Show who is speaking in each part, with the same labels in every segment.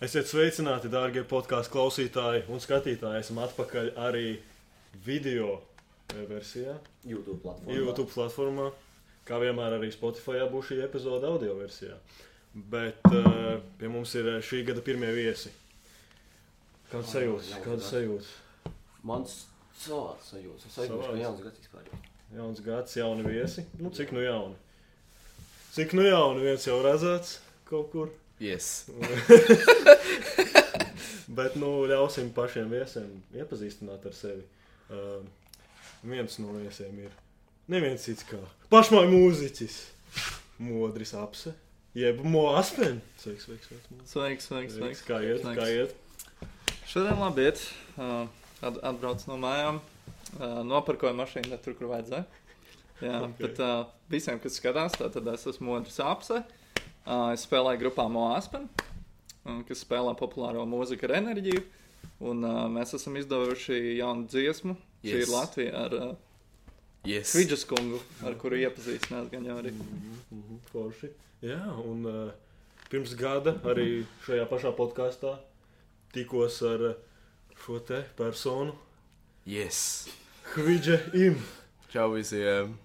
Speaker 1: Esiet sveicināti, dārgie podkāstu klausītāji un skatītāji. Esam atpakaļ arī video versijā,
Speaker 2: YouTube platformā.
Speaker 1: YouTube platformā. Kā vienmēr, arī Spotify būs šī epizode audio versijā. Bet eh, pie mums ir eh, šī gada pirmie viesi. Kāds sajūta?
Speaker 2: jauns
Speaker 1: Kāds
Speaker 2: gads.
Speaker 1: sajūta?
Speaker 2: Mans savāds sajūta. Es aizmirsu, ka
Speaker 1: Savāds.
Speaker 2: jauns gads vispār. ir.
Speaker 1: Jauns gads, jauni viesi. Nu, cik nu jauni? Cik nu jauni? Viens jau redzēts kaut kur.
Speaker 3: Yes.
Speaker 1: Bet nu, ļausim pašiem viesiem iepazīstināt ar sevi. Uh, viens no viesiem ir neviens cits kā pašmai mūziķis. Modris apse, jeb mūzika. Sveiks, sveiks, sveiks. Mūs.
Speaker 3: Sveiks, sveiks, sveiks.
Speaker 1: sveiks. Kā iet?
Speaker 3: Sveiks.
Speaker 1: Kā iet?
Speaker 3: Šodien labi iet. Uh, At, atbraucu no mājām, uh, nopirkoju mašīnu ne tur, kur vajadzēja.
Speaker 1: Ok.
Speaker 3: Jā, okay. bet uh, visiem, kas skatās, tā, tad es esmu Mudrs Apse. Uh, es spēlēju grupā Moaspen, kas spēlē populāro mūziku ar enerģiju. Un uh, mēs esam izdevuši jaunu dziesmu. Yes. Šī
Speaker 4: Yes.
Speaker 3: ir Latvija ar uh,
Speaker 4: Yes.
Speaker 3: Kvidžas kungu, ar kuru iepazīstinās gan jau arī.
Speaker 1: Mhm, Forši. Jā, un uh, pirms gada arī šajā pašā podkāstā tikos ar ā, šo te personu,
Speaker 4: Yes.
Speaker 1: Hvidža Im.
Speaker 4: Čau visiem.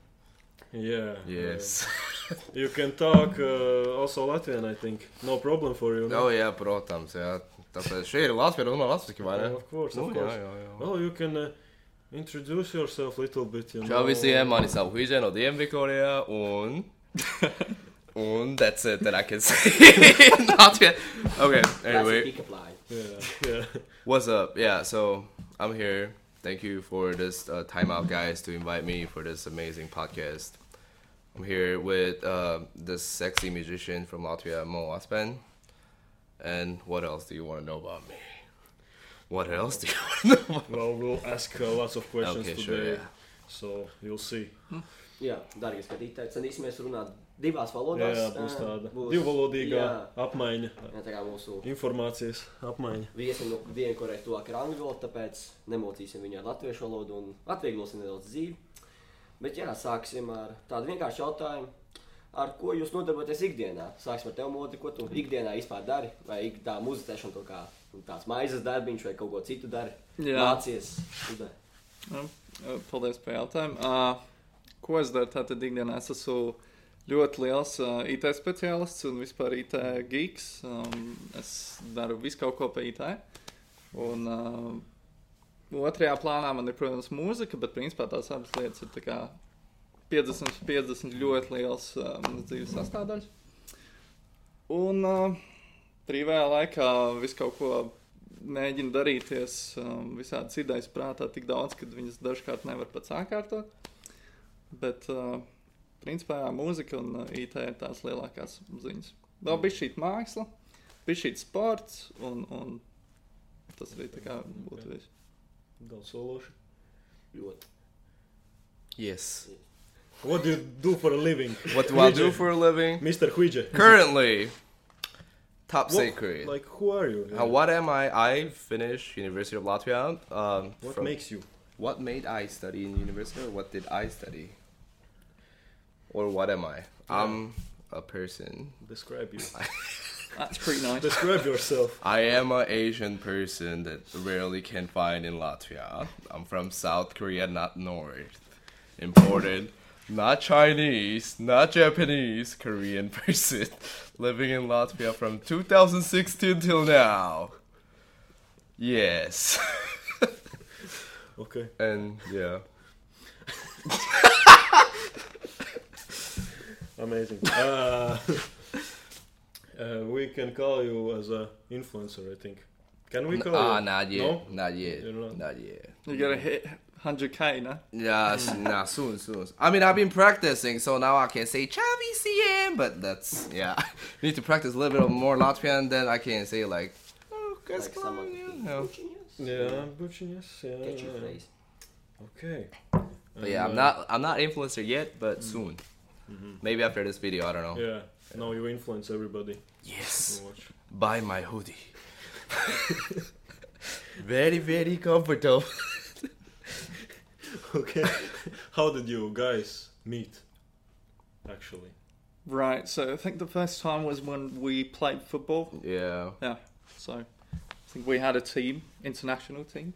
Speaker 1: Yeah.
Speaker 4: um, Yes.
Speaker 1: Uh, you can talk uh, also Latvian, I think. No problem for you.
Speaker 4: Oh, jā, protams, jā. Tāpēc šī ir Latvija, runā latviešu, vai ne?
Speaker 1: Of course, of
Speaker 4: Nu,
Speaker 1: course.
Speaker 4: jā, jā, jā.
Speaker 1: Well, you can uh, introduce yourself a little bit. You
Speaker 4: Čau
Speaker 1: know. uh,
Speaker 4: visiem, mani savu Huizē no Dienvidkorijā un... Un that's it, that I can say. Latvija. Okay, anyway.
Speaker 2: Pick up line.
Speaker 1: Yeah, yeah.
Speaker 4: What's up? Yeah, so I'm here. Thank you for this uh, time out, guys, to invite me for this amazing podcast. I'm here with uh, this sexy musician from Latvia, Mo Aspen. And what else do you want to know about me? What else do you want to know? About
Speaker 1: Well, we'll ask uh, lots of questions
Speaker 4: Okay,
Speaker 1: today,
Speaker 4: sure, yeah.
Speaker 1: so you'll see.
Speaker 2: Jā, darbie skatītāji, cenīsimies runāt divās
Speaker 1: Jā,
Speaker 2: valodās.
Speaker 1: jā,
Speaker 4: uh,
Speaker 1: būs tāda
Speaker 2: Būs-
Speaker 1: divvalodīga
Speaker 2: jā.
Speaker 1: apmaiņa,
Speaker 2: Jā, tā kā mūsu
Speaker 1: informācijas apmaiņa.
Speaker 2: viesim no Dienvidkorejas tuvāk ir angļu valoda, tāpēc nemocīsim viņu ar latviešu valodu un atvieglosim nedaudz dzīvi. Bet jā, sāksim ar tādu vienkāršu jautājumu. Ar ko jūs nodarbojaties ikdienā? Sāksim ar tevi, Modi, ko tu ikdienā vispār dari? Vai ik tā muzicēšana, to kā nu, tāds maizes darbiņš vai kaut ko citu dari?
Speaker 3: Jā.
Speaker 2: Mācies. Uzdari.
Speaker 3: Nu, Paldies par jautājumu. Ā, Ko es daru tātad ikdienā? Es esmu ļoti liels ā, IT speciālists un vispār IT geeks. Um, Es daru visu kaut ko pa IT. Un ā, otrajā plānā man ir, protams, mūzika, bet principā tās abas lietas ir tā kā 50 uz 50 ļoti liels ā, manas dzīves sastāvdaļas. Un ā, brīvajā laikā visu kaut ko mēģina darīties um, visādas idejas prātā tik daudz, ka viņas dažkārt nevar pats sakārtot. Bet, uh, principā, jā, mūzika un uh, IT ir tās lielākās ziņas. Vēl bija šī māksla, bija šī sports, un, un tas arī tā kā būtu viss.
Speaker 1: Daudz sološi.
Speaker 2: Ļoti.
Speaker 4: yes.
Speaker 1: What do you do for a living?
Speaker 4: What do I
Speaker 1: Huizē?
Speaker 4: do for a living?
Speaker 1: Mr. Huidža.
Speaker 4: Currently, top
Speaker 1: What-
Speaker 4: secret.
Speaker 1: Like, who are you?
Speaker 4: Uh, what am I? I finished University of Latvia. Um,
Speaker 1: What
Speaker 4: from-
Speaker 1: makes you?
Speaker 4: What made I study in university, or what did I study? Or what am I? I'm a person.
Speaker 1: Describe you.
Speaker 3: That's pretty nice.
Speaker 1: Describe yourself.
Speaker 4: I am an Asian person that rarely can find in Latvia. I'm from South Korea, not North. Imported, not Chinese, not Japanese, Korean person. Living in Latvia from 2016 till now. Yes.
Speaker 1: Okay.
Speaker 4: and yeah.
Speaker 1: Amazing. Uh, uh, we can call you as a influencer, I think. Can we call
Speaker 4: Ah,
Speaker 1: you?
Speaker 4: not yet.
Speaker 1: No?
Speaker 4: Not yet.
Speaker 1: You're not?
Speaker 4: Not, yet.
Speaker 3: You gotta hit 100k, no?
Speaker 4: Yeah, s- nah, soon, soon. I mean, I've been practicing, so now I can say Chavi CM, but that's, yeah. Need to practice a little bit more Latvian, then I can say, like, oh,
Speaker 2: Like someone.
Speaker 4: you know.
Speaker 1: Yeah,
Speaker 4: Mm.
Speaker 1: Bucinius. Yeah.
Speaker 2: Catch your
Speaker 1: yeah.
Speaker 2: phrase.
Speaker 1: Okay. uh,
Speaker 4: But yeah,
Speaker 1: Mm-hmm.
Speaker 4: I'm not, I'm not influencer yet, but soon. Maybe after this video, I don't know.
Speaker 1: Yeah. Now you influence everybody.
Speaker 4: Yes,
Speaker 1: to watch.
Speaker 4: buy my hoodie. very, very comfortable.
Speaker 1: Okay. How did you guys meet? Actually.
Speaker 3: Right, so I think the first time was when we played football.
Speaker 4: Yeah.
Speaker 3: Yeah. So I think we had a team, international team,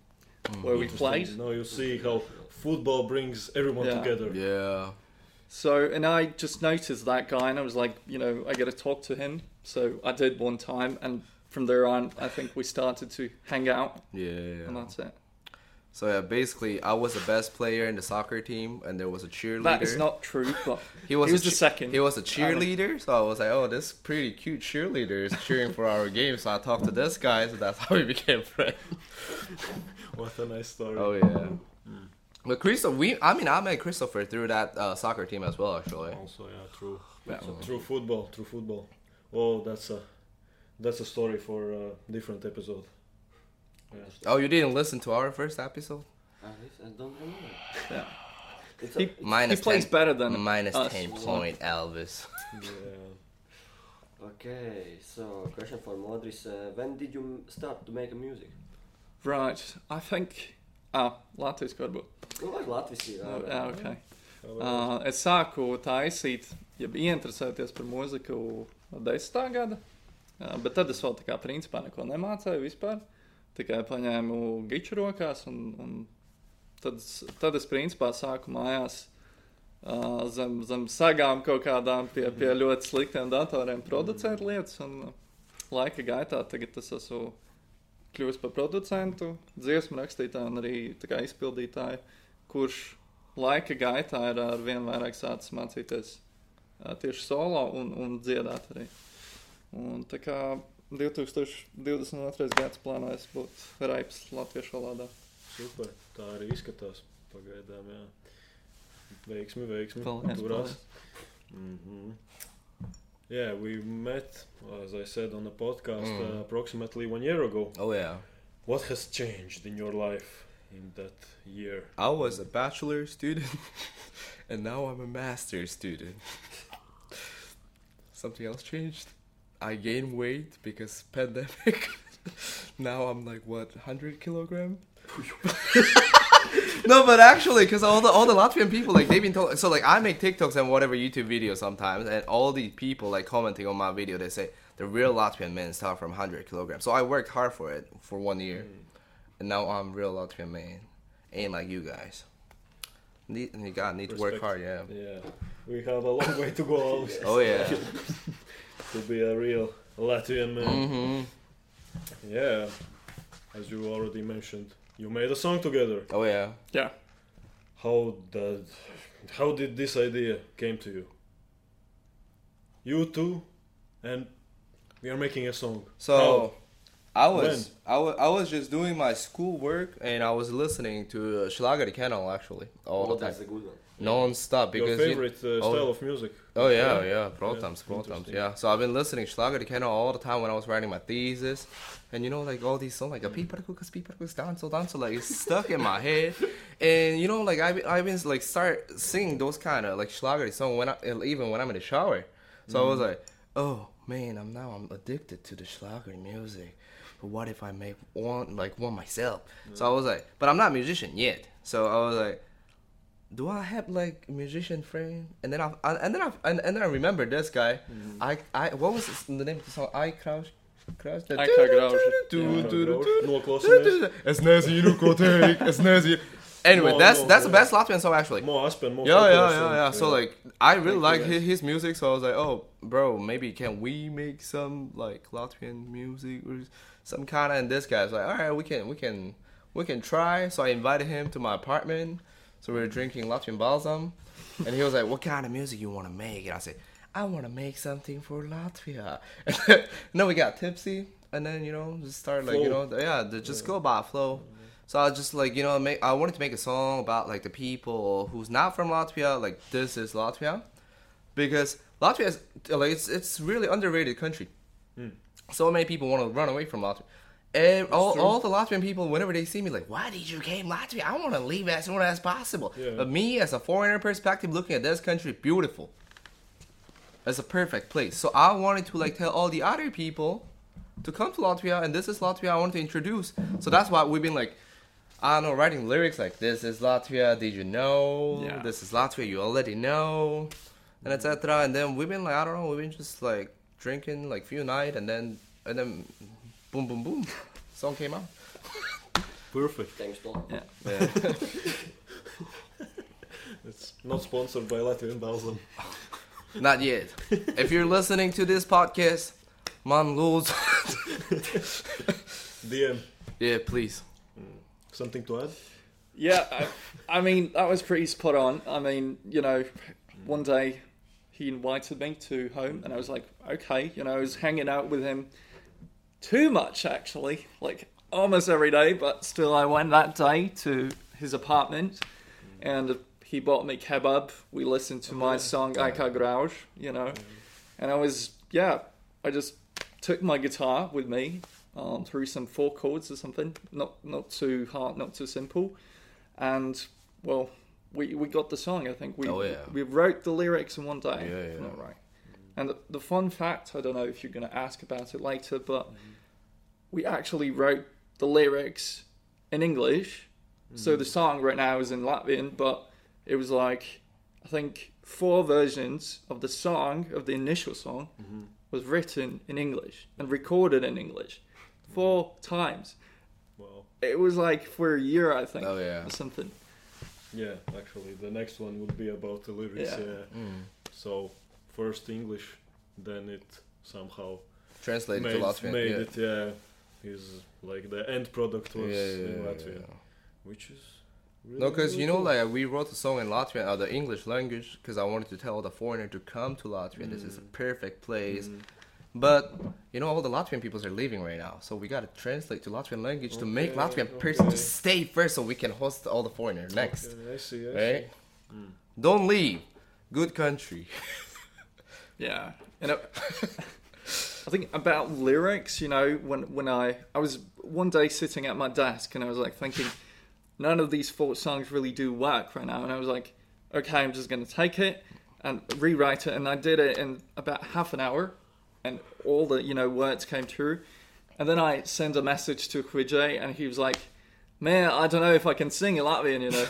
Speaker 3: where we played.
Speaker 1: Now you see how football brings everyone
Speaker 3: Yeah.
Speaker 1: together.
Speaker 4: Yeah.
Speaker 3: So, and I just noticed that guy, and I was like, you know, I got to talk to him. So I did one time, and from there on, I think we started to hang out, and
Speaker 4: Yeah.
Speaker 3: that's it.
Speaker 4: So yeah, basically, I was the best player in the soccer team, and there was a cheerleader.
Speaker 3: That is not true, but
Speaker 4: He was,
Speaker 3: He was
Speaker 4: a
Speaker 3: the second.
Speaker 4: He was a cheerleader, so I was like, "Oh, this pretty cute cheerleader is cheering for our game." So I talked to this guy, so that's how we became friends.
Speaker 1: What a nice story.
Speaker 4: Oh yeah.
Speaker 3: Hmm.
Speaker 4: But Christopher, we—I mean, I met Christopher through that uh, soccer team as well, actually.
Speaker 3: Oh,
Speaker 1: Also, yeah, true.
Speaker 4: Yeah.
Speaker 1: True football, true football. Oh, that's a that's a story for a different episode.
Speaker 4: Oh, you didn't listen to our first episode?
Speaker 2: I I don't remember.
Speaker 3: yeah.
Speaker 2: It's
Speaker 3: He-
Speaker 2: a,
Speaker 3: he
Speaker 4: Minus
Speaker 3: plays
Speaker 4: 10
Speaker 3: better than
Speaker 4: minus
Speaker 3: us.
Speaker 4: ten point, Elvis.
Speaker 1: Yeah.
Speaker 2: okay, so question for Modris. Uh, when did you m- start to make a music?
Speaker 3: Right, I think. Ah, Latvijas varbūt.
Speaker 2: Nu, vai Latvijas ir?
Speaker 3: Nu, Jā, ok.
Speaker 4: Ah.
Speaker 1: Hello.
Speaker 3: Uh, es sāku taisīt, ja ieinteresēties par mūziku no 10. gada, uh, bet tad es vēl tā kā principā neko nemācīju vispār. Tikai paņēmu giču rokās, un, un tad, es- tad es principā sāku mājās uh, zem, zem sagām kaut kādām pie, pie ļoti sliktiem datoriem producēt lietas, un uh, laika gaitā tagad es esmu kļuvis par producentu, dziesmu rakstītāju un arī tā kā izpildītāju, kurš laika gaitā ir ar vien vairāk sācis mācīties ā, tieši solo un, un dziedāt arī. Un tā kā 2022. gads plānojas būt raips latviešu valodā.
Speaker 1: Super. Tā arī izskatās pagaidām, jā. Veiksmi, veiksmi.
Speaker 3: Paldies,
Speaker 1: Turās. Mhm. Yeah, we met, as I said, on a podcast
Speaker 4: Mm.
Speaker 1: uh, approximately one year ago.
Speaker 4: Oh yeah.
Speaker 1: What has changed in your life in that year?
Speaker 4: I was a bachelor student, and now I'm a master student. Something else changed. I gained weight because pandemic. now I'm like what, hundred kilogram? no, but actually, because all the all the Latvian people like they've been told. So like I make TikToks and whatever YouTube videos sometimes, and all the people like commenting on my video, they say the real Latvian men start from hundred kilograms. So I worked hard for it for one year,
Speaker 1: Mm.
Speaker 4: and now I'm real Latvian man, ain't like you guys. Need, you gotta need to work
Speaker 1: Respect.
Speaker 4: hard, yeah.
Speaker 1: Yeah, we have a long way to go Alex,
Speaker 4: Oh yeah.
Speaker 1: to be a real Latvian man.
Speaker 4: hmm
Speaker 1: Yeah, as you already mentioned, you made a song together.
Speaker 4: Oh yeah.
Speaker 3: Jā,
Speaker 1: How did how did this idea came to you? You two, and we are making a song.
Speaker 4: So I was I wa- I was just doing my school work and I was listening to uh, Schlager Kennel actually all
Speaker 2: Oh,
Speaker 4: the time
Speaker 2: that's a good one.
Speaker 4: non-stop
Speaker 1: How? Your
Speaker 4: because you-
Speaker 1: favorite uh,
Speaker 4: oh.
Speaker 1: style of music?
Speaker 4: Oh yeah, yeah,
Speaker 1: Yeah,
Speaker 4: protams, protams,
Speaker 1: interesting.
Speaker 4: yeah. So I've been listening Schlager Kennel all the time when I was writing my thesis, and you know like all these songs like a
Speaker 1: Mm.
Speaker 4: pīparkukas, pīparkukas, danzo, danzo, like it's stuck in my head, and you know like I've been- I've been like start singing those kind of like Schlager songs when I even when I'm in the shower, so
Speaker 1: Mm.
Speaker 4: I was like, oh man, I'm now I'm addicted to the Schlager music, but what if I make one like one myself? So I was like, but I'm not a musician yet, so I was like do I have like musician friend? And then I, I and then I and, and then I remember this guy.
Speaker 3: Mm-hmm.
Speaker 4: I I what was his- the name of the song? I crouch. Crouch.
Speaker 3: I Crouch.
Speaker 4: Do, do, do, do,
Speaker 1: Noklausāmies.
Speaker 4: do. Es nezinu, ko teikt. Es nezinu. Anyway,
Speaker 1: No,
Speaker 4: that's
Speaker 1: no,
Speaker 4: that's the
Speaker 1: yeah.
Speaker 4: best Latvian song actually.
Speaker 1: More Aspen, more
Speaker 4: Yeah, yeah,
Speaker 1: popular
Speaker 4: yeah,
Speaker 1: song.
Speaker 4: yeah. So like, I really like
Speaker 3: Thank you,
Speaker 4: his, his music. So I was like, oh, bro, maybe can we make some like Latvian music or some kind? And this guy's like, all right, we can, we can, we can try. So I invited him to my apartment. So we were drinking Latvian balsam, and he was like, what kind of music you want to make? And I said, I want to make something for Latvia. And then, no, we got tipsy, and then you know just started like you
Speaker 1: Flow.
Speaker 4: know yeah, the- just go by flow. So I was just like, you know, make, I wanted to make a song about like the people who's not from Latvia, like this is Latvia, because Latvia is like it's it's really underrated country.
Speaker 1: Hmm.
Speaker 4: So many people want to run away from Latvia. And all,
Speaker 1: true.
Speaker 4: all the Latvian people, whenever they see me, like, why did you came Latvia? I want to leave as soon as possible.
Speaker 1: Yeah.
Speaker 4: But me, as a foreigner perspective, looking at this country, beautiful. It's a perfect place. So I wanted to like tell all the other people to come to Latvia, and this is Latvia I wanted to introduce. So that's why we've been like, I don't know, writing lyrics like this is Latvia. Did you know?
Speaker 3: Yeah.
Speaker 4: This is Latvia. You already know, and etc. And then we've been like, I don't know, we've been just like drinking like few night, and then and then boom, boom, boom. Song came out.
Speaker 1: Perfect.
Speaker 2: Thanks, Paul.
Speaker 4: Yeah.
Speaker 1: It's not sponsored by Latvian Belgium.
Speaker 4: Not yet. If you're listening to this podcast, man rules.
Speaker 1: DM,
Speaker 4: yeah, please.
Speaker 1: something to add?
Speaker 3: Yeah, I, I mean, that was pretty spot on. I mean, you know, one day he invited me to home, and I was like, okay, you know, I was hanging out with him too much, actually, like almost every day, but still, I went that day to his apartment, and he bought me kebab. We listened to
Speaker 4: Oh,
Speaker 3: my song, Aika Grauj, you know,
Speaker 4: Mm-hmm.
Speaker 3: and I was, yeah, I just took my guitar with me. Um, through some four chords or something, not not too hard, not too simple, and well, we we got the song. I think we
Speaker 4: Oh, yeah.
Speaker 3: we wrote the lyrics in one day.
Speaker 4: Yeah,
Speaker 3: if
Speaker 4: yeah.
Speaker 3: Not right. And the, the fun fact, I don't know if you're going to ask about it later, but we actually wrote the lyrics in English. So
Speaker 4: Mm-hmm.
Speaker 3: the song right now is in Latvian, but it was like I think four versions of the song of the initial song
Speaker 4: Mm-hmm.
Speaker 3: was written in English and recorded in English four times.
Speaker 1: Well,
Speaker 3: It was like for a year, I think,
Speaker 4: Oh, yeah.
Speaker 3: or something.
Speaker 1: yeah, actually, the next one would be about the lyrics.
Speaker 3: Yeah.
Speaker 1: Yeah.
Speaker 4: Mm.
Speaker 1: So, first English, then it somehow
Speaker 4: Translate it
Speaker 1: made,
Speaker 4: to Latvian.
Speaker 1: made
Speaker 4: yeah.
Speaker 1: it, yeah. Is like the end product
Speaker 4: Yeah,
Speaker 1: was
Speaker 4: yeah,
Speaker 1: in
Speaker 4: yeah,
Speaker 1: Latvian,
Speaker 4: yeah.
Speaker 1: which is. Really,
Speaker 4: No, because you know,
Speaker 1: cool.
Speaker 4: like we wrote the song in Latvian, uh, the English language, because I wanted to tell the foreigner to come to Latvia. This is a perfect place.
Speaker 3: Mm.
Speaker 1: Mm.
Speaker 4: But you know, all the Latvian peoples are leaving right now, so we gotta translate to Latvian language to make
Speaker 1: Okay,
Speaker 4: Latvian person
Speaker 1: okay.
Speaker 4: to stay first, so we can host all the foreigners next,
Speaker 1: Yeah, I see, I
Speaker 4: right?
Speaker 3: Mm.
Speaker 4: Don't leave, good country.
Speaker 3: Yeah, and it, I think about lyrics. You know, when when I I was one day sitting at my desk and I was like thinking, none of these four songs really do work right now, and I was like, okay, I'm just gonna take it and rewrite it, and I did it in about half an hour, and all the you know words came through, and then I sent a message to Kvijay, and he was like, man, I don't know if I can sing in Latvian, you know.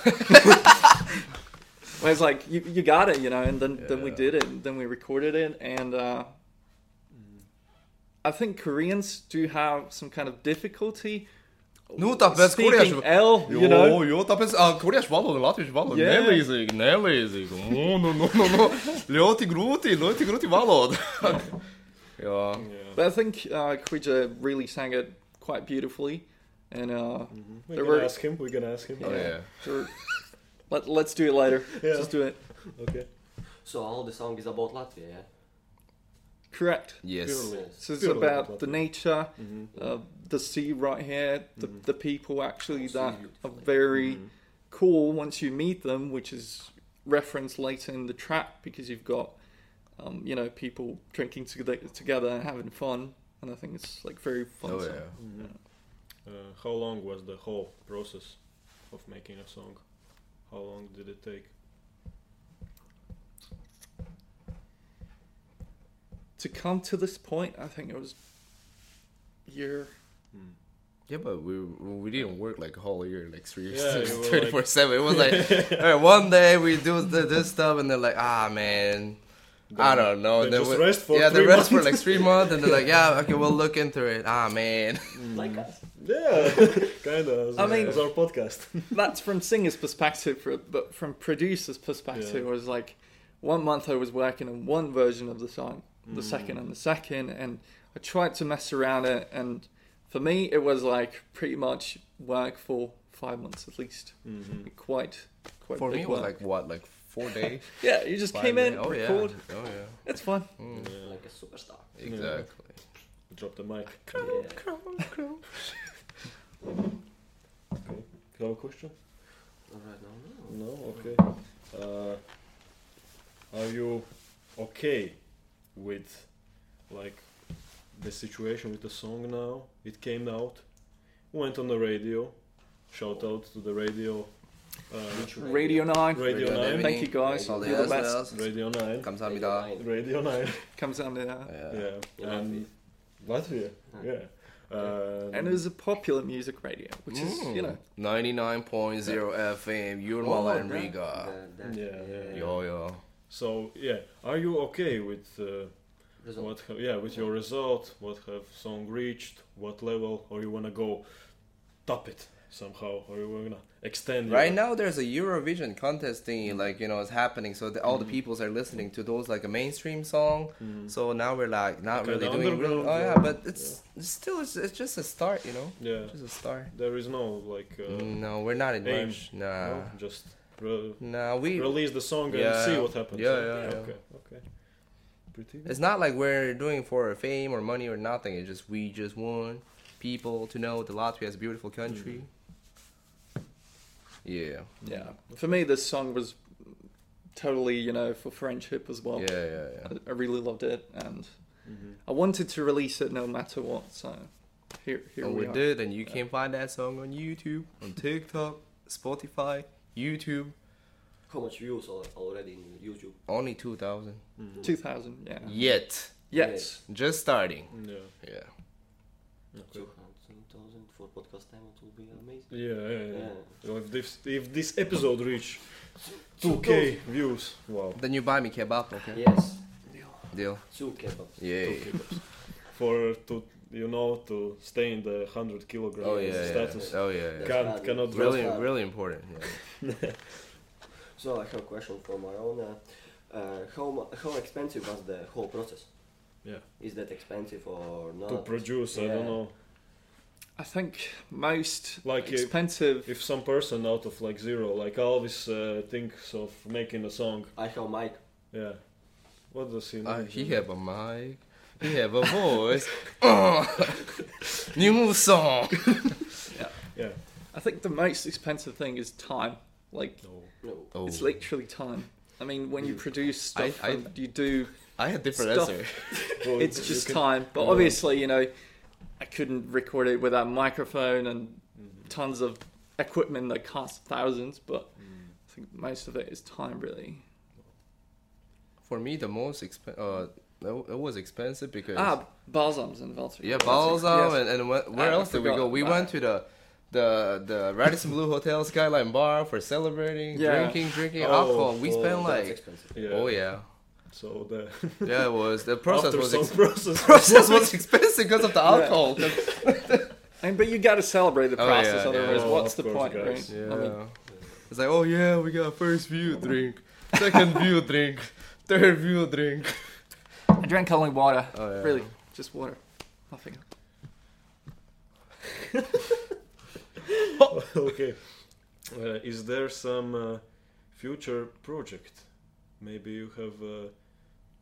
Speaker 3: I was like, you, you got it, you know, and then, then we
Speaker 4: Yeah.
Speaker 3: did it, and then we recorded it, and uh, I think Koreans do have some kind of difficulty
Speaker 4: Nu tāpēc
Speaker 3: Oh, speaking
Speaker 4: kurieši-
Speaker 3: L, you know.
Speaker 4: jo, tāpēc uh, kuriešu valoda un latviešu valoda
Speaker 3: Jā.
Speaker 4: nelīdzīga, nelīdzīga. No, no, no, no, no. Ļoti grūti, ļoti grūti valoda. jā.
Speaker 1: Yeah.
Speaker 3: But I think uh, Kwija really sang it quite beautifully, and uh,
Speaker 1: We
Speaker 3: there
Speaker 1: can
Speaker 3: were
Speaker 1: ask him. We can ask him.
Speaker 4: Oh, yeah.
Speaker 3: there were- Let, let's do it later.
Speaker 1: Yeah.
Speaker 3: Let's do it.
Speaker 1: Okay.
Speaker 2: So all the song is about Latvia, yeah?
Speaker 3: Correct.
Speaker 4: Yes.
Speaker 1: Purely.
Speaker 2: Yes.
Speaker 3: So it's
Speaker 1: Feel like
Speaker 3: about
Speaker 1: Latvia.
Speaker 3: the nature, uh, the sea right here, the, the people actually
Speaker 2: Sea
Speaker 3: that are
Speaker 2: beautifully.
Speaker 3: very cool once you meet them, which is referenced later in the track because you've got, um, you know, people drinking toge- together and having fun, and I think it's like very fun.
Speaker 4: Oh,
Speaker 3: song.
Speaker 4: yeah.
Speaker 1: Uh, how long was the whole process of making a song? How long did it take?
Speaker 3: To come to this point, I think it was year.
Speaker 1: Mm.
Speaker 4: Yeah, but we we didn't work like a whole year, like three years,
Speaker 1: Yeah, you were, like-
Speaker 4: twenty four seven. It was like, all right, one day we do th- this stuff, and they're like, ah, man, I don't know.
Speaker 1: they
Speaker 4: Then
Speaker 1: just
Speaker 4: we-
Speaker 1: rest for
Speaker 4: yeah, they
Speaker 1: three
Speaker 4: rest for
Speaker 1: months.
Speaker 4: like three months, and they're like, yeah, okay, we'll look into it. Ah, man,
Speaker 1: Mm-hmm.
Speaker 2: Like us.
Speaker 1: Yeah, kind of.
Speaker 3: I mean-
Speaker 1: as our podcast.
Speaker 3: That's from singer's perspective, for, but from producer's perspective,
Speaker 1: Yeah.
Speaker 3: it was like one month I was working on one version of the song,
Speaker 1: Mm.
Speaker 3: the second and the second, and I tried to mess around it. And for me, it was like pretty much work for five months at least.
Speaker 1: Mm-hmm. Mm.
Speaker 3: Quite, quite
Speaker 4: for
Speaker 3: big
Speaker 4: me it was
Speaker 3: work.
Speaker 4: like what, like four days.
Speaker 3: yeah, you just
Speaker 4: Five
Speaker 3: came
Speaker 4: days.
Speaker 3: in,
Speaker 4: oh
Speaker 3: record.
Speaker 4: yeah, oh yeah,
Speaker 3: It's fun.
Speaker 2: Like a superstar.
Speaker 4: exactly.
Speaker 1: Drop the mic.
Speaker 2: Yeah.
Speaker 1: Okay. You have a question?
Speaker 2: Alright, no, no.
Speaker 1: No. Okay. Uh, are you okay with like the situation with the song now? It came out, went on the radio. Shout out to the radio. Uh,
Speaker 3: Radio Nine.
Speaker 1: Radio
Speaker 4: Good
Speaker 1: Nine.
Speaker 4: evening.
Speaker 3: Thank you guys.
Speaker 4: All the
Speaker 3: You're the best.
Speaker 4: best.
Speaker 1: Radio Nine.
Speaker 4: Kamsahamnida.
Speaker 1: Radio Nine.
Speaker 3: Comes under there.
Speaker 4: Yeah.
Speaker 1: Yeah.
Speaker 2: Yeah,
Speaker 1: And Latvia. Yeah. Um,
Speaker 3: And it was a popular music radio, which is
Speaker 4: Mm.
Speaker 3: you know
Speaker 4: ninety nine Hmm. point zero FM. You're
Speaker 2: Oh,
Speaker 4: Mala
Speaker 2: that-
Speaker 4: and Riga.
Speaker 2: that- that-
Speaker 1: Yeah, yeah.
Speaker 4: Yo yo.
Speaker 1: so yeah, are you okay with uh,
Speaker 2: result.
Speaker 1: What have, yeah, with your result, what have song reached, what level, or you wanna go top it somehow, or you wanna extend.
Speaker 4: Right
Speaker 1: your,
Speaker 4: now, there's a Eurovision contest thingy, like you know, it's happening. So the, all the peoples are listening to those like a mainstream song.
Speaker 1: Mm.
Speaker 4: So now we're like not
Speaker 1: Kinda
Speaker 4: really doing. Really,
Speaker 1: Mm-hmm. underground,
Speaker 4: oh yeah,
Speaker 1: yeah.
Speaker 4: but it's it's still it's, it's just a start, you know,
Speaker 1: Yeah,
Speaker 4: just a start.
Speaker 1: there is no like. Uh,
Speaker 4: no, we're not in
Speaker 1: aim.
Speaker 4: rush. Mm, Nah,
Speaker 1: no, just re-
Speaker 4: nah, we.
Speaker 1: release the song
Speaker 4: Yeah,
Speaker 1: and see
Speaker 4: yeah.
Speaker 1: what happens.
Speaker 4: Yeah, yeah, yeah.
Speaker 1: Okay, okay. Pretty. Good.
Speaker 4: It's not like we're doing for fame or money or nothing. It's just we just want people to know that Latvia is a beautiful country. Yeah.
Speaker 3: Yeah. For me, this song was totally, you know, for French hip as well.
Speaker 4: yeah, yeah, yeah.
Speaker 3: I, I really loved it, and
Speaker 1: Mhm.
Speaker 3: I wanted to release it no matter what. So here, here
Speaker 4: And
Speaker 3: we,
Speaker 4: we
Speaker 3: are.
Speaker 4: Oh, did, and you can find that song on YouTube, on TikTok, Spotify, YouTube.
Speaker 2: How much views al- already in YouTube?
Speaker 4: Only 2,000.
Speaker 3: Two thousand. Yeah.
Speaker 4: Yet.
Speaker 3: Yes.
Speaker 4: Just starting.
Speaker 1: Yeah.
Speaker 4: Yeah.
Speaker 1: Okay.
Speaker 2: 200,000 for podcast time, it will be amazing.
Speaker 1: Yeah, yeah, yeah.
Speaker 2: Yeah.
Speaker 1: Well, if this if this episode reach 2k views, wow,
Speaker 4: Then you buy me kebab, okay?
Speaker 2: Yes,
Speaker 4: Deal.
Speaker 2: two kebabs.
Speaker 4: Yeah.
Speaker 1: for to you know to stay in the 100 kilogram
Speaker 4: Oh, yeah, yeah.
Speaker 1: status,
Speaker 4: Oh, yeah, yeah.
Speaker 1: Can't-
Speaker 2: bad.
Speaker 1: cannot
Speaker 2: That's
Speaker 4: Really,
Speaker 2: bad.
Speaker 4: really important. Yeah.
Speaker 2: So I have a question for my own. Uh, uh, how mu- how expensive was the whole process?
Speaker 1: Yeah.
Speaker 2: Is that expensive or not?
Speaker 1: to produce. I
Speaker 2: Yeah.
Speaker 1: don't know
Speaker 3: I think most
Speaker 1: Like, uh,
Speaker 3: expensive.
Speaker 1: if some person out of like zero, like Alvis uh, thinks of making a song.
Speaker 2: I have mic.
Speaker 1: Yeah, what does he?
Speaker 4: Uh,
Speaker 1: need?
Speaker 4: he have a mic. He have a voice. Uh, new move song.
Speaker 1: Yeah.
Speaker 3: I think the most expensive thing is time. Like
Speaker 1: No.
Speaker 2: No.
Speaker 4: Oh,
Speaker 3: it's literally time. I mean, when you produce
Speaker 4: I-
Speaker 3: stuff,
Speaker 4: I-
Speaker 3: and you do.
Speaker 4: I had different
Speaker 3: Stuff.
Speaker 4: answer.
Speaker 1: Well,
Speaker 3: It's
Speaker 1: you
Speaker 3: just
Speaker 1: can-
Speaker 3: time. But
Speaker 1: Yeah.
Speaker 3: obviously, you know, I couldn't record it with that microphone and
Speaker 4: Mm-hmm.
Speaker 3: tons of equipment that costs thousands. But
Speaker 4: Mm.
Speaker 3: I think most of it is time, really.
Speaker 4: For me, the most expen uh, it was expensive because
Speaker 3: Ah, balsams and Valtteri.
Speaker 4: yeah, Balsam and, and wh- where
Speaker 3: I
Speaker 4: else did we
Speaker 3: forgot
Speaker 4: go? We
Speaker 3: about
Speaker 4: went to
Speaker 3: it.
Speaker 4: the the the Radisson Blue Hotel Skyline Bar for celebrating,
Speaker 3: Yeah.
Speaker 4: drinking, drinking
Speaker 1: Oh,
Speaker 4: alcohol. We
Speaker 1: oh,
Speaker 4: spent
Speaker 2: That's
Speaker 4: like
Speaker 2: expensive.
Speaker 1: Yeah.
Speaker 4: oh yeah,
Speaker 1: So the
Speaker 4: yeah. It was the process
Speaker 1: after
Speaker 4: was
Speaker 1: some
Speaker 4: ex-
Speaker 1: process.
Speaker 4: process was expensive because of the alcohol.
Speaker 3: And but you got to celebrate the
Speaker 4: Oh,
Speaker 3: process,
Speaker 4: yeah, yeah.
Speaker 3: otherwise,
Speaker 1: Oh,
Speaker 3: what's
Speaker 1: of
Speaker 3: the
Speaker 1: course,
Speaker 3: point,
Speaker 1: guys.
Speaker 3: right? I mean,
Speaker 4: it's like, oh yeah, we got first view drink, second view drink, third view drink.
Speaker 3: I drank only water.
Speaker 4: Oh, yeah.
Speaker 3: Really, just water, nothing. else.
Speaker 1: okay. Uh, is there some uh, future project? Maybe you have uh,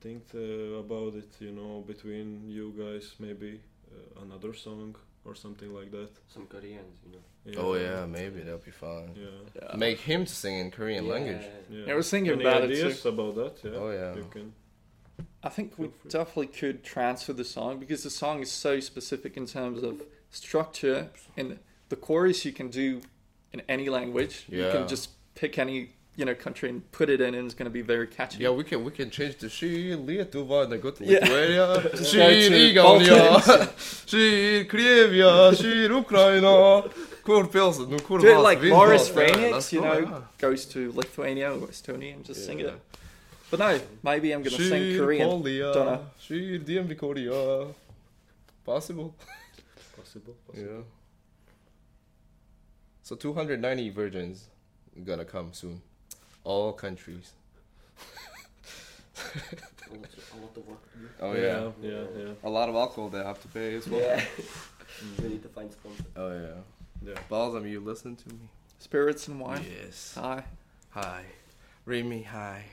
Speaker 1: think uh, about it. You know, between you guys, maybe uh, another song or something like that.
Speaker 2: Some Koreans, you know.
Speaker 1: Yeah.
Speaker 4: Oh yeah, maybe that'll be fun.
Speaker 1: Yeah.
Speaker 4: Make him to sing in Korean
Speaker 2: Yeah.
Speaker 4: language.
Speaker 1: Yeah.
Speaker 3: I was thinking
Speaker 1: Any
Speaker 3: about it,
Speaker 1: ideas about that? Yeah.
Speaker 4: Oh yeah.
Speaker 1: You can.
Speaker 3: I think we
Speaker 1: Feel free.
Speaker 3: definitely could transfer the song because the song is so specific in terms of structure and the chorus you can do in any language. You
Speaker 4: Yeah.
Speaker 3: can just pick any you know country and put it in, and it's going to be very catchy.
Speaker 4: Yeah, we can we can change the she Lietuva and go to
Speaker 3: Yeah.
Speaker 4: Lithuania. She
Speaker 3: go to
Speaker 4: Igaunija, she Krievia, she Ukraina. Kur pilsat, nu kur
Speaker 3: Do it
Speaker 4: valsts
Speaker 3: like
Speaker 4: vien
Speaker 3: Morris
Speaker 4: valsts. Yeah,
Speaker 3: Rainix,
Speaker 4: let's
Speaker 3: you
Speaker 4: go,
Speaker 3: know,
Speaker 4: yeah.
Speaker 3: goes to Lithuania or Estonia and just sing
Speaker 4: Yeah.
Speaker 3: it. But no, maybe I'm gonna sing
Speaker 4: She
Speaker 3: Korean.
Speaker 4: Polia,
Speaker 3: Don't know.
Speaker 4: she DMV Korea. Possible.
Speaker 1: Possible. possible.
Speaker 4: Yeah. So 290 virgins gonna come soon. All countries.
Speaker 2: A lot, a lot of work. to do.
Speaker 4: Oh
Speaker 1: Yeah. Yeah. Yeah.
Speaker 4: A lot of alcohol they have to pay as well.
Speaker 2: Yeah. Mm-hmm. we need to find sponsor.
Speaker 4: Oh yeah.
Speaker 1: Yeah.
Speaker 4: Balsam, you listen to me.
Speaker 3: Spirits and wine.
Speaker 4: Yes.
Speaker 3: Hi.
Speaker 4: Hi. Read me hi.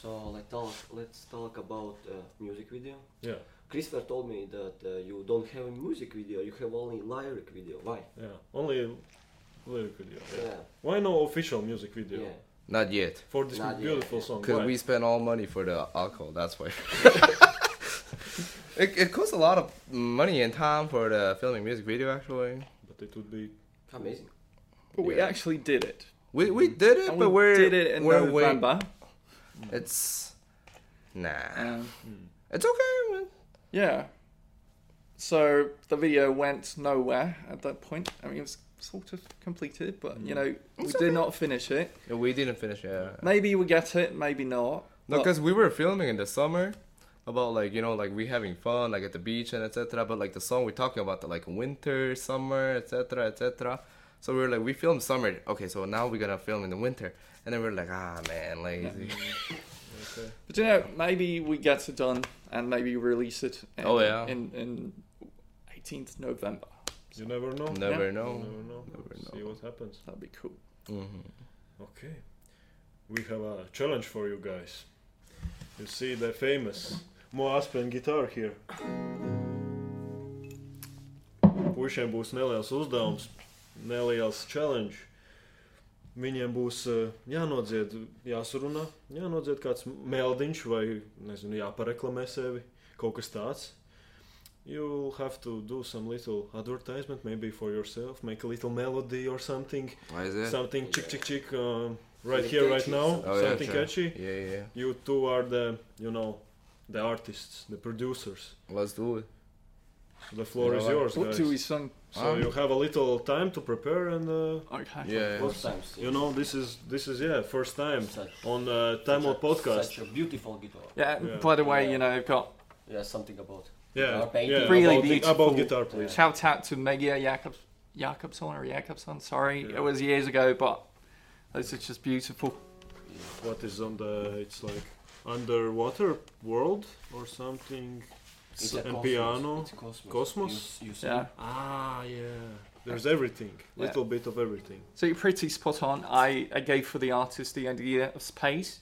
Speaker 2: So let's talk. Let's talk about uh, music video.
Speaker 1: Yeah.
Speaker 2: Christopher told me that uh, you don't have a music video. You have only lyric video. Why?
Speaker 1: yeah. Only lyric video. Yeah.
Speaker 2: Yeah.
Speaker 1: Why no official music video
Speaker 2: Yeah.
Speaker 4: Not yet.
Speaker 1: for this
Speaker 2: Not yet.
Speaker 1: beautiful song?
Speaker 4: Because
Speaker 1: Why?
Speaker 4: we spent all money for the alcohol, that's why. it, it costs a lot of money and time for the filming music video, actually.
Speaker 1: But it would be.
Speaker 2: Amazing.
Speaker 3: But we
Speaker 4: Yeah.
Speaker 3: actually did it.
Speaker 4: We, we did it,
Speaker 3: Mm-hmm. And
Speaker 4: but
Speaker 3: we
Speaker 4: we're.
Speaker 3: did it in
Speaker 4: we're waiting.
Speaker 3: November.
Speaker 4: It's. Nah.
Speaker 3: Um,
Speaker 4: It's okay, man.
Speaker 3: yeah. So the video went nowhere at that point. I mean, it was sort of completed, but
Speaker 1: Mm.
Speaker 3: you know, we
Speaker 4: It's
Speaker 3: did
Speaker 4: okay.
Speaker 3: not finish it.
Speaker 4: No, we didn't finish it.
Speaker 3: Maybe we get it, maybe not.
Speaker 4: No,
Speaker 3: But-
Speaker 4: because we were filming in the summer, about like you know like we having fun like at the beach and etc. But like the song we're talking about the, like winter, summer, etc. etc. So we were like we filmed summer. Okay, so now we're gonna film in the winter, and then we are like ah man lazy.
Speaker 1: Okay.
Speaker 3: But you know, maybe we get it done and maybe release it. In,
Speaker 4: Oh, yeah.
Speaker 3: In in 18th November.
Speaker 1: You never know.
Speaker 4: Never
Speaker 3: Yeah.
Speaker 1: You
Speaker 4: know.
Speaker 1: never know.
Speaker 4: Never
Speaker 1: See
Speaker 4: know.
Speaker 1: what happens.
Speaker 3: That'd be cool.
Speaker 4: hmm
Speaker 1: Okay. We have a challenge for you guys. You see the famous Mo Aspen guitar here. Pušiem būs neliels uzdevums, neliels challenge. Viņiem būs eh, jānodzied, jāsarunā, jānodzied kāds meldiņš vai nezinu, jāpareklamē sevi, kaut kas tāds. You'll have to do some little advertisement, maybe for yourself, make a little melody or something.
Speaker 4: Why is it?
Speaker 1: something chick chick chick um, right
Speaker 2: Something
Speaker 1: here right
Speaker 2: catchy,
Speaker 1: now
Speaker 2: something-
Speaker 4: Oh, yeah,
Speaker 1: something
Speaker 4: sure.
Speaker 1: catchy
Speaker 4: Yeah, yeah. yeah.
Speaker 1: you two are the you know the artists the producers
Speaker 4: Let's do it.
Speaker 1: the floor
Speaker 4: Yeah,
Speaker 1: is
Speaker 4: right.
Speaker 1: yours
Speaker 3: What do we
Speaker 1: guys
Speaker 3: sing?
Speaker 1: so
Speaker 4: Um,
Speaker 1: you have a little time to prepare and uh,
Speaker 3: Okay.
Speaker 4: Yeah. yeah.
Speaker 2: First time. see.
Speaker 1: you know this is this is yeah first time
Speaker 2: Such-
Speaker 1: on uh, time
Speaker 2: such
Speaker 1: out
Speaker 2: a-
Speaker 1: podcast
Speaker 2: Such a beautiful guitar.
Speaker 3: Yeah,
Speaker 1: Yeah.
Speaker 3: by the way, you know, I've got
Speaker 2: There's something about.
Speaker 1: yeah,
Speaker 2: guitar painting.
Speaker 1: yeah
Speaker 3: Really
Speaker 1: about, gui-
Speaker 3: beautiful.
Speaker 1: about guitar please
Speaker 3: shout out to Megia Jakobs, Jakobson or Jakobson, sorry.
Speaker 1: Yeah.
Speaker 3: It was years ago, but this is just beautiful.
Speaker 1: what is on the it's like underwater world or something
Speaker 2: It's a
Speaker 1: and
Speaker 2: cosmos.
Speaker 1: piano
Speaker 2: It's cosmos.
Speaker 1: Cosmos?
Speaker 2: You, you see?
Speaker 3: Yeah.
Speaker 1: ah yeah there's everything
Speaker 3: Yeah.
Speaker 1: little bit of everything
Speaker 3: So you're pretty spot on. I, I gave for the artist the idea of space.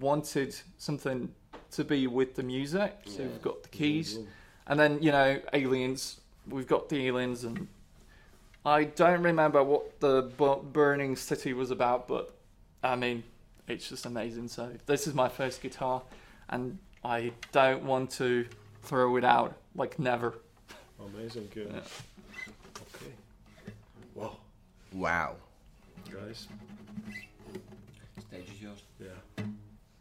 Speaker 3: Wanted something to be with the music, so
Speaker 2: Yeah.
Speaker 3: we've got the keys.
Speaker 1: Mm-hmm.
Speaker 3: And then, you know, aliens. We've got the aliens, and I don't remember what the bu- burning city was about, but I mean, it's just amazing. So, this is my first guitar, and I don't want to throw it out like never.
Speaker 1: Amazing, yeah.
Speaker 3: Yeah.
Speaker 1: Okay. Wow,
Speaker 4: Wow.
Speaker 1: guys.
Speaker 2: Stage is yours.
Speaker 1: Yeah.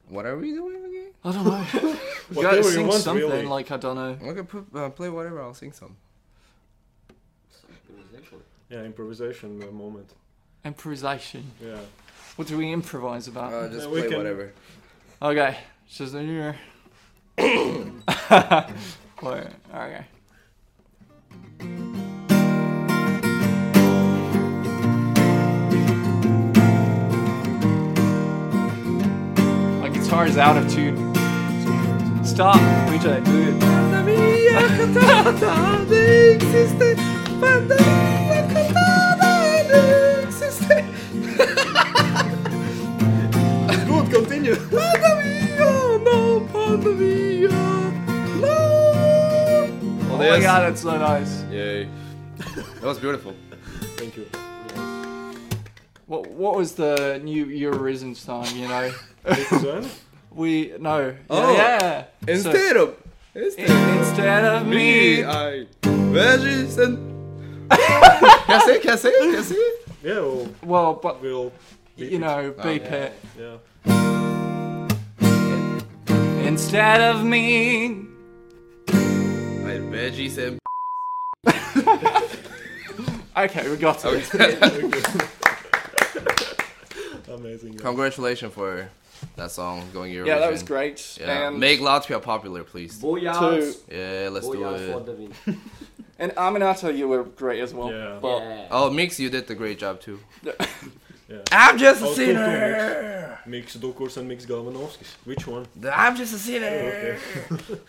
Speaker 4: What are we doing again?
Speaker 3: I don't know. you
Speaker 1: Whatever
Speaker 3: gotta
Speaker 1: you
Speaker 3: sing
Speaker 1: want,
Speaker 3: something,
Speaker 1: really.
Speaker 3: like, I don't know.
Speaker 4: Okay, put, uh, play whatever. I'll sing some.
Speaker 2: It's improvisation.
Speaker 1: Yeah, improvisation uh, moment.
Speaker 3: Improvisation.
Speaker 1: Yeah.
Speaker 3: What do we improvise about?
Speaker 4: Uh, just
Speaker 1: Yeah, we
Speaker 4: play
Speaker 1: can-
Speaker 4: whatever.
Speaker 3: okay, she's in here. Wait, okay. My guitar is out of tune. Stop, Luigi, do it.
Speaker 4: Good, continue.
Speaker 3: Oh my
Speaker 4: yes.
Speaker 3: god, it's so nice.
Speaker 4: Yay. That was beautiful.
Speaker 1: Thank you.
Speaker 3: What, what was the new Eurovision song, you know?
Speaker 1: Listen.
Speaker 3: We, no.
Speaker 4: Oh.
Speaker 3: yeah. So-
Speaker 4: Instead of. Instead
Speaker 3: instead of me.
Speaker 4: I. Veggies and. Can I say it? Can I say it? Can I say it?
Speaker 1: yeah, we'll,
Speaker 3: Well, but,
Speaker 1: we'll beep
Speaker 3: you know,
Speaker 4: Oh,
Speaker 3: beep
Speaker 4: yeah.
Speaker 3: it.
Speaker 1: It. Yeah.
Speaker 3: Instead of me.
Speaker 4: My veggies and.
Speaker 3: Okay, we got
Speaker 4: Oh,
Speaker 3: it.
Speaker 1: Amazing. yeah.
Speaker 4: Congratulations for that song going your
Speaker 3: Yeah, that was great.
Speaker 4: Yeah.
Speaker 3: And,
Speaker 4: Make Latvia popular, please.
Speaker 2: Boyards.
Speaker 4: Oh, Yeah, let's do
Speaker 2: Boyards for
Speaker 4: it.
Speaker 2: the win.
Speaker 3: and Aminato, you were great as well.
Speaker 1: Yeah.
Speaker 3: But
Speaker 2: Yeah.
Speaker 4: Oh, Mix, you did a great job too.
Speaker 1: Yeah.
Speaker 4: I'm just a
Speaker 1: Oh, cool,
Speaker 4: sinner.
Speaker 1: Mix Dukurs and Mix Galvanovskis. Which one?
Speaker 4: I'm just a sinner.
Speaker 1: Okay.
Speaker 3: the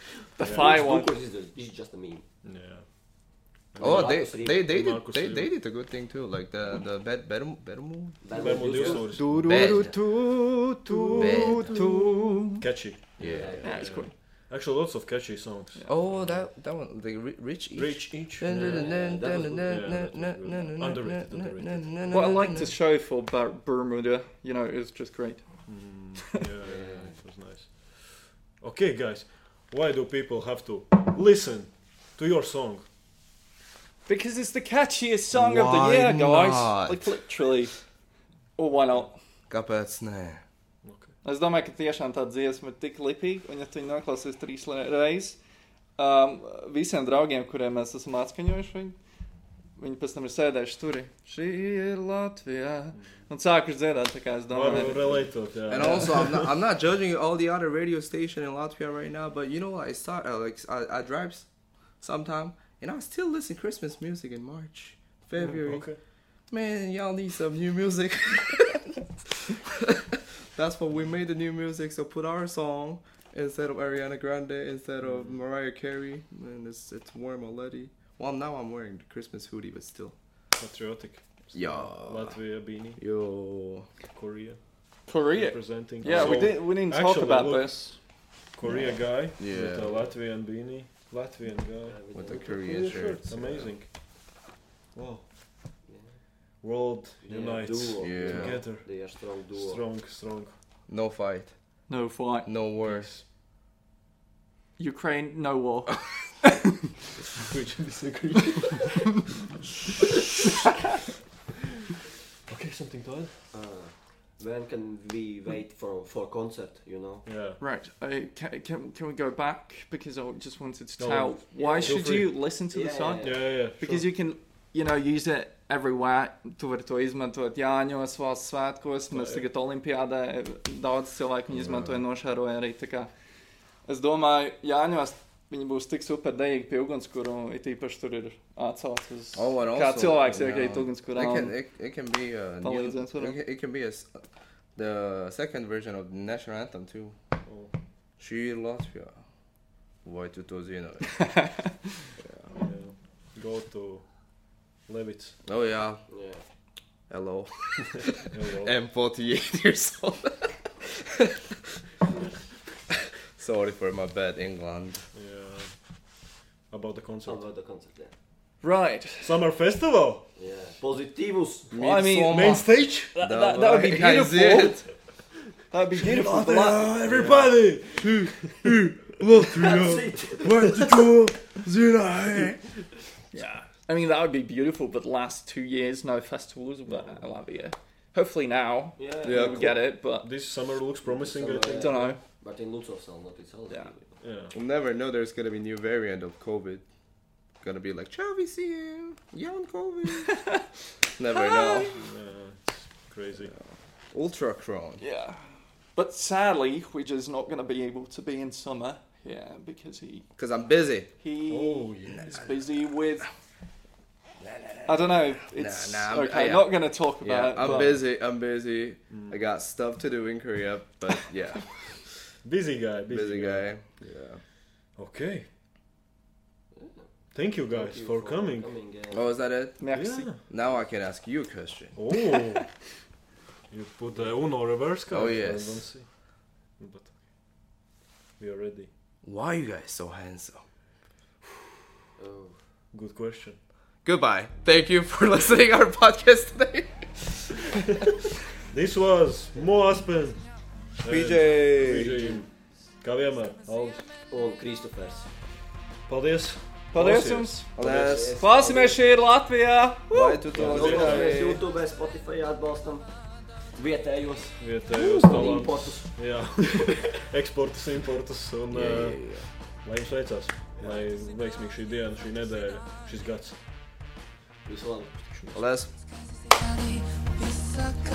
Speaker 1: Yeah.
Speaker 3: fire one.
Speaker 2: Lucas is, the- is just a meme.
Speaker 1: Yeah.
Speaker 4: Oh, they
Speaker 2: Marcus
Speaker 4: they they did
Speaker 1: Marcus
Speaker 4: they,
Speaker 1: Reed.
Speaker 4: they did a good thing too. Like the the bed bedroom bedroom.
Speaker 2: That
Speaker 1: Lemon
Speaker 2: was useful.
Speaker 1: Dukurs.
Speaker 4: Bed.
Speaker 3: tu, tu,
Speaker 4: Bed.
Speaker 3: tu.
Speaker 1: Catchy.
Speaker 4: Yeah.
Speaker 3: Yeah, it's cool.
Speaker 1: Actually, lots of catchy songs.
Speaker 4: Oh, that that one. The ri- rich each.
Speaker 1: Rich each.
Speaker 4: Dun, dun, dun,
Speaker 1: Yeah.
Speaker 2: Yeah,
Speaker 4: dun,
Speaker 2: that was
Speaker 4: dun,
Speaker 2: good.
Speaker 4: dun,
Speaker 1: Yeah, that was
Speaker 4: dun, dun,
Speaker 1: good.
Speaker 4: dun, dun,
Speaker 1: Underrated,
Speaker 4: dun,
Speaker 1: underrated.
Speaker 4: dun, dun,
Speaker 3: What I
Speaker 4: dun,
Speaker 3: like
Speaker 4: dun.
Speaker 3: to show for Bar- Bermuda, you know, is just great.
Speaker 1: Mm, yeah, yeah, it was nice. Okay, guys, why do people have to listen to your song?
Speaker 3: Because it's the catchiest song of
Speaker 4: Why
Speaker 3: the year, guys.
Speaker 4: not?
Speaker 3: Like, literally. Or why not?
Speaker 4: Kāpēc nē?
Speaker 1: Okay.
Speaker 3: Es domāju, ka tiešām tā dziesma ir tik lipīga, un ja tu viņu noklausies trīs le- reizes, um, visiem draugiem, kuriem mēs esam atskaņojuši viņu, Viņi pēc tam ir sēdējuši tur. Šī ir Latvija. Un sākuši dziedāt, tā kā es
Speaker 1: Varu
Speaker 3: domāju,
Speaker 1: relatot, jā.
Speaker 4: And also, I'm not, I'm not judging all the other radio station in Latvia right now, but you know, I saw uh, like I, I drive sometime, and I still listen Christmas music in March, February.
Speaker 1: Okay.
Speaker 4: Man, y'all need some new music. That's what we made the new music. So put our song instead of Ariana Grande, instead of Mariah Carey, and it's it's warm already. Well, now I'm wearing the Christmas hoodie, but still.
Speaker 1: Patriotic.
Speaker 4: Yeah.
Speaker 1: Latvia beanie,
Speaker 4: Yo.
Speaker 1: Korea.
Speaker 3: Korea.
Speaker 1: Representing.
Speaker 3: Yeah, we
Speaker 1: So,
Speaker 3: did. We didn't talk
Speaker 1: actually,
Speaker 3: about
Speaker 1: look-
Speaker 3: this.
Speaker 1: Korea guy
Speaker 4: Yeah.
Speaker 1: with a Latvian beanie. Latvian guy.
Speaker 4: With
Speaker 2: With
Speaker 4: the
Speaker 1: with a
Speaker 4: Korea shirts,
Speaker 1: Amazing. Wow.
Speaker 2: Yeah.
Speaker 1: World
Speaker 2: Yeah,
Speaker 1: unites
Speaker 2: duo.
Speaker 4: Yeah.
Speaker 1: together.
Speaker 2: They are strong duo.
Speaker 1: Strong, strong.
Speaker 4: No fight,
Speaker 3: No fight.
Speaker 4: no war.
Speaker 3: Ukraine, no war.
Speaker 1: Agree to disagree. okay, something to add?
Speaker 2: Uh, when can we wait for for concert? You know.
Speaker 1: Yeah.
Speaker 3: Right. Uh, can, can, can we go back? Because I just wanted to
Speaker 1: No,
Speaker 3: tell. Why
Speaker 2: yeah,
Speaker 1: feel
Speaker 3: should
Speaker 1: free.
Speaker 3: you listen to the
Speaker 2: Yeah,
Speaker 3: song?
Speaker 2: yeah,
Speaker 1: Yeah, yeah, yeah.
Speaker 3: Because you can, you know, use it everywhere. Tu vari to izmantot Jāņos, valsts svētkos. Mēs
Speaker 1: Tā ir.
Speaker 3: tagad Olimpiādē daudz cilvēku viņu izmantoja, nošēroja arī. tā kā. Es domāju, Jāņos viņi būs tik superdejīgi pie ugunskura, un it īpaši tur ir atsauce uz
Speaker 4: Oh, and
Speaker 3: kā cilvēks
Speaker 4: yeah.
Speaker 3: iekrīt
Speaker 4: It
Speaker 3: ugunskurā.
Speaker 4: can
Speaker 3: un-
Speaker 4: it, it can be uh,
Speaker 3: Follow
Speaker 4: new-
Speaker 3: the dance, whatever.
Speaker 4: it, can- it can be a s the second version of the national anthem too.
Speaker 1: Oh,
Speaker 4: She Latvia. Vai tu to zini?
Speaker 1: yeah. Go to Levitz.
Speaker 4: Oh yeah,
Speaker 2: Yeah.
Speaker 4: hello.
Speaker 1: Hello.
Speaker 4: I'm 48 years old. Sorry for my bad England.
Speaker 1: Yeah. About the
Speaker 2: How
Speaker 1: concert.
Speaker 2: about the concert? Yeah.
Speaker 3: Right.
Speaker 1: Summer festival.
Speaker 2: Yeah. Positivus.
Speaker 3: Well, I mean-
Speaker 4: Midsommar.
Speaker 1: Main stage.
Speaker 3: That,
Speaker 4: The-
Speaker 3: that, that would be
Speaker 4: I- I see
Speaker 3: beautiful.
Speaker 4: it.
Speaker 3: That would be beautiful. but that-
Speaker 1: Latvia, Uh, everybody.
Speaker 2: That's
Speaker 1: Latvia.
Speaker 2: it.
Speaker 1: Where to go? Zina.
Speaker 3: Yeah. I mean, that would be beautiful, but the last two years, no festivals, but I love it. Hopefully now
Speaker 2: Yeah.
Speaker 4: Yeah.
Speaker 3: we get it, but
Speaker 1: This summer looks promising, I
Speaker 3: I
Speaker 1: think.
Speaker 3: don't know.
Speaker 2: But in Lutzow, not it's all.
Speaker 3: Yeah.
Speaker 1: Yeah.
Speaker 4: We'll never know there's gonna be new variant of COVID. Gonna be like, shall we see you? Young COVID. never know.
Speaker 1: yeah it's crazy.
Speaker 4: Ultra Cron.
Speaker 3: Yeah. But sadly, which is not going to be able to be in summer. Yeah, because he
Speaker 4: Cause I'm busy.
Speaker 3: he
Speaker 1: Oh, yeah.
Speaker 3: is busy with. I don't know. It's
Speaker 4: nah, I'm-
Speaker 3: okay.
Speaker 4: yeah.
Speaker 3: Not going to talk about
Speaker 4: Yeah,
Speaker 3: it.
Speaker 4: I'm
Speaker 3: but-
Speaker 4: busy. I'm busy. I got stuff to do in Korea, but yeah,
Speaker 1: Busy guy. Busy,
Speaker 4: busy
Speaker 1: guy.
Speaker 4: guy. Yeah.
Speaker 1: Okay. Thank you guys
Speaker 2: Thank you
Speaker 1: for, coming.
Speaker 2: coming yeah.
Speaker 4: Oh, is that it?
Speaker 3: Merci.
Speaker 1: Yeah.
Speaker 4: Now I can ask you a question.
Speaker 1: Oh. you put a Uno reverse card.
Speaker 4: Oh,
Speaker 1: I don't
Speaker 4: yes.
Speaker 1: see. But we are ready.
Speaker 4: Why are you guys so handsome?
Speaker 2: Oh.
Speaker 1: Good question.
Speaker 4: Goodbye. Thank you for listening our podcast today.
Speaker 1: This was Mo Aspen. And
Speaker 4: PJ.
Speaker 1: PJ. Kā vienmēr. Aldis.
Speaker 2: Un Kristofers.
Speaker 1: Paldies.
Speaker 3: Paldies
Speaker 1: Klausies.
Speaker 3: jums!
Speaker 4: Alas.
Speaker 3: Klausimies šeit Latvijā!
Speaker 4: Vai tu to
Speaker 2: Mēs
Speaker 4: zini?
Speaker 2: YouTube, Spotify atbalstam vietējos
Speaker 1: Vietējos talantus.
Speaker 2: importus.
Speaker 1: Jā. Eksportus, importus un...
Speaker 4: Yeah,
Speaker 1: Uh,
Speaker 4: yeah, yeah.
Speaker 1: Lai jums veicas, lai veiksmīgi šī diena, šī nedēļa, šis gads.
Speaker 2: Visu labu!
Speaker 4: Alas.
Speaker 5: Visu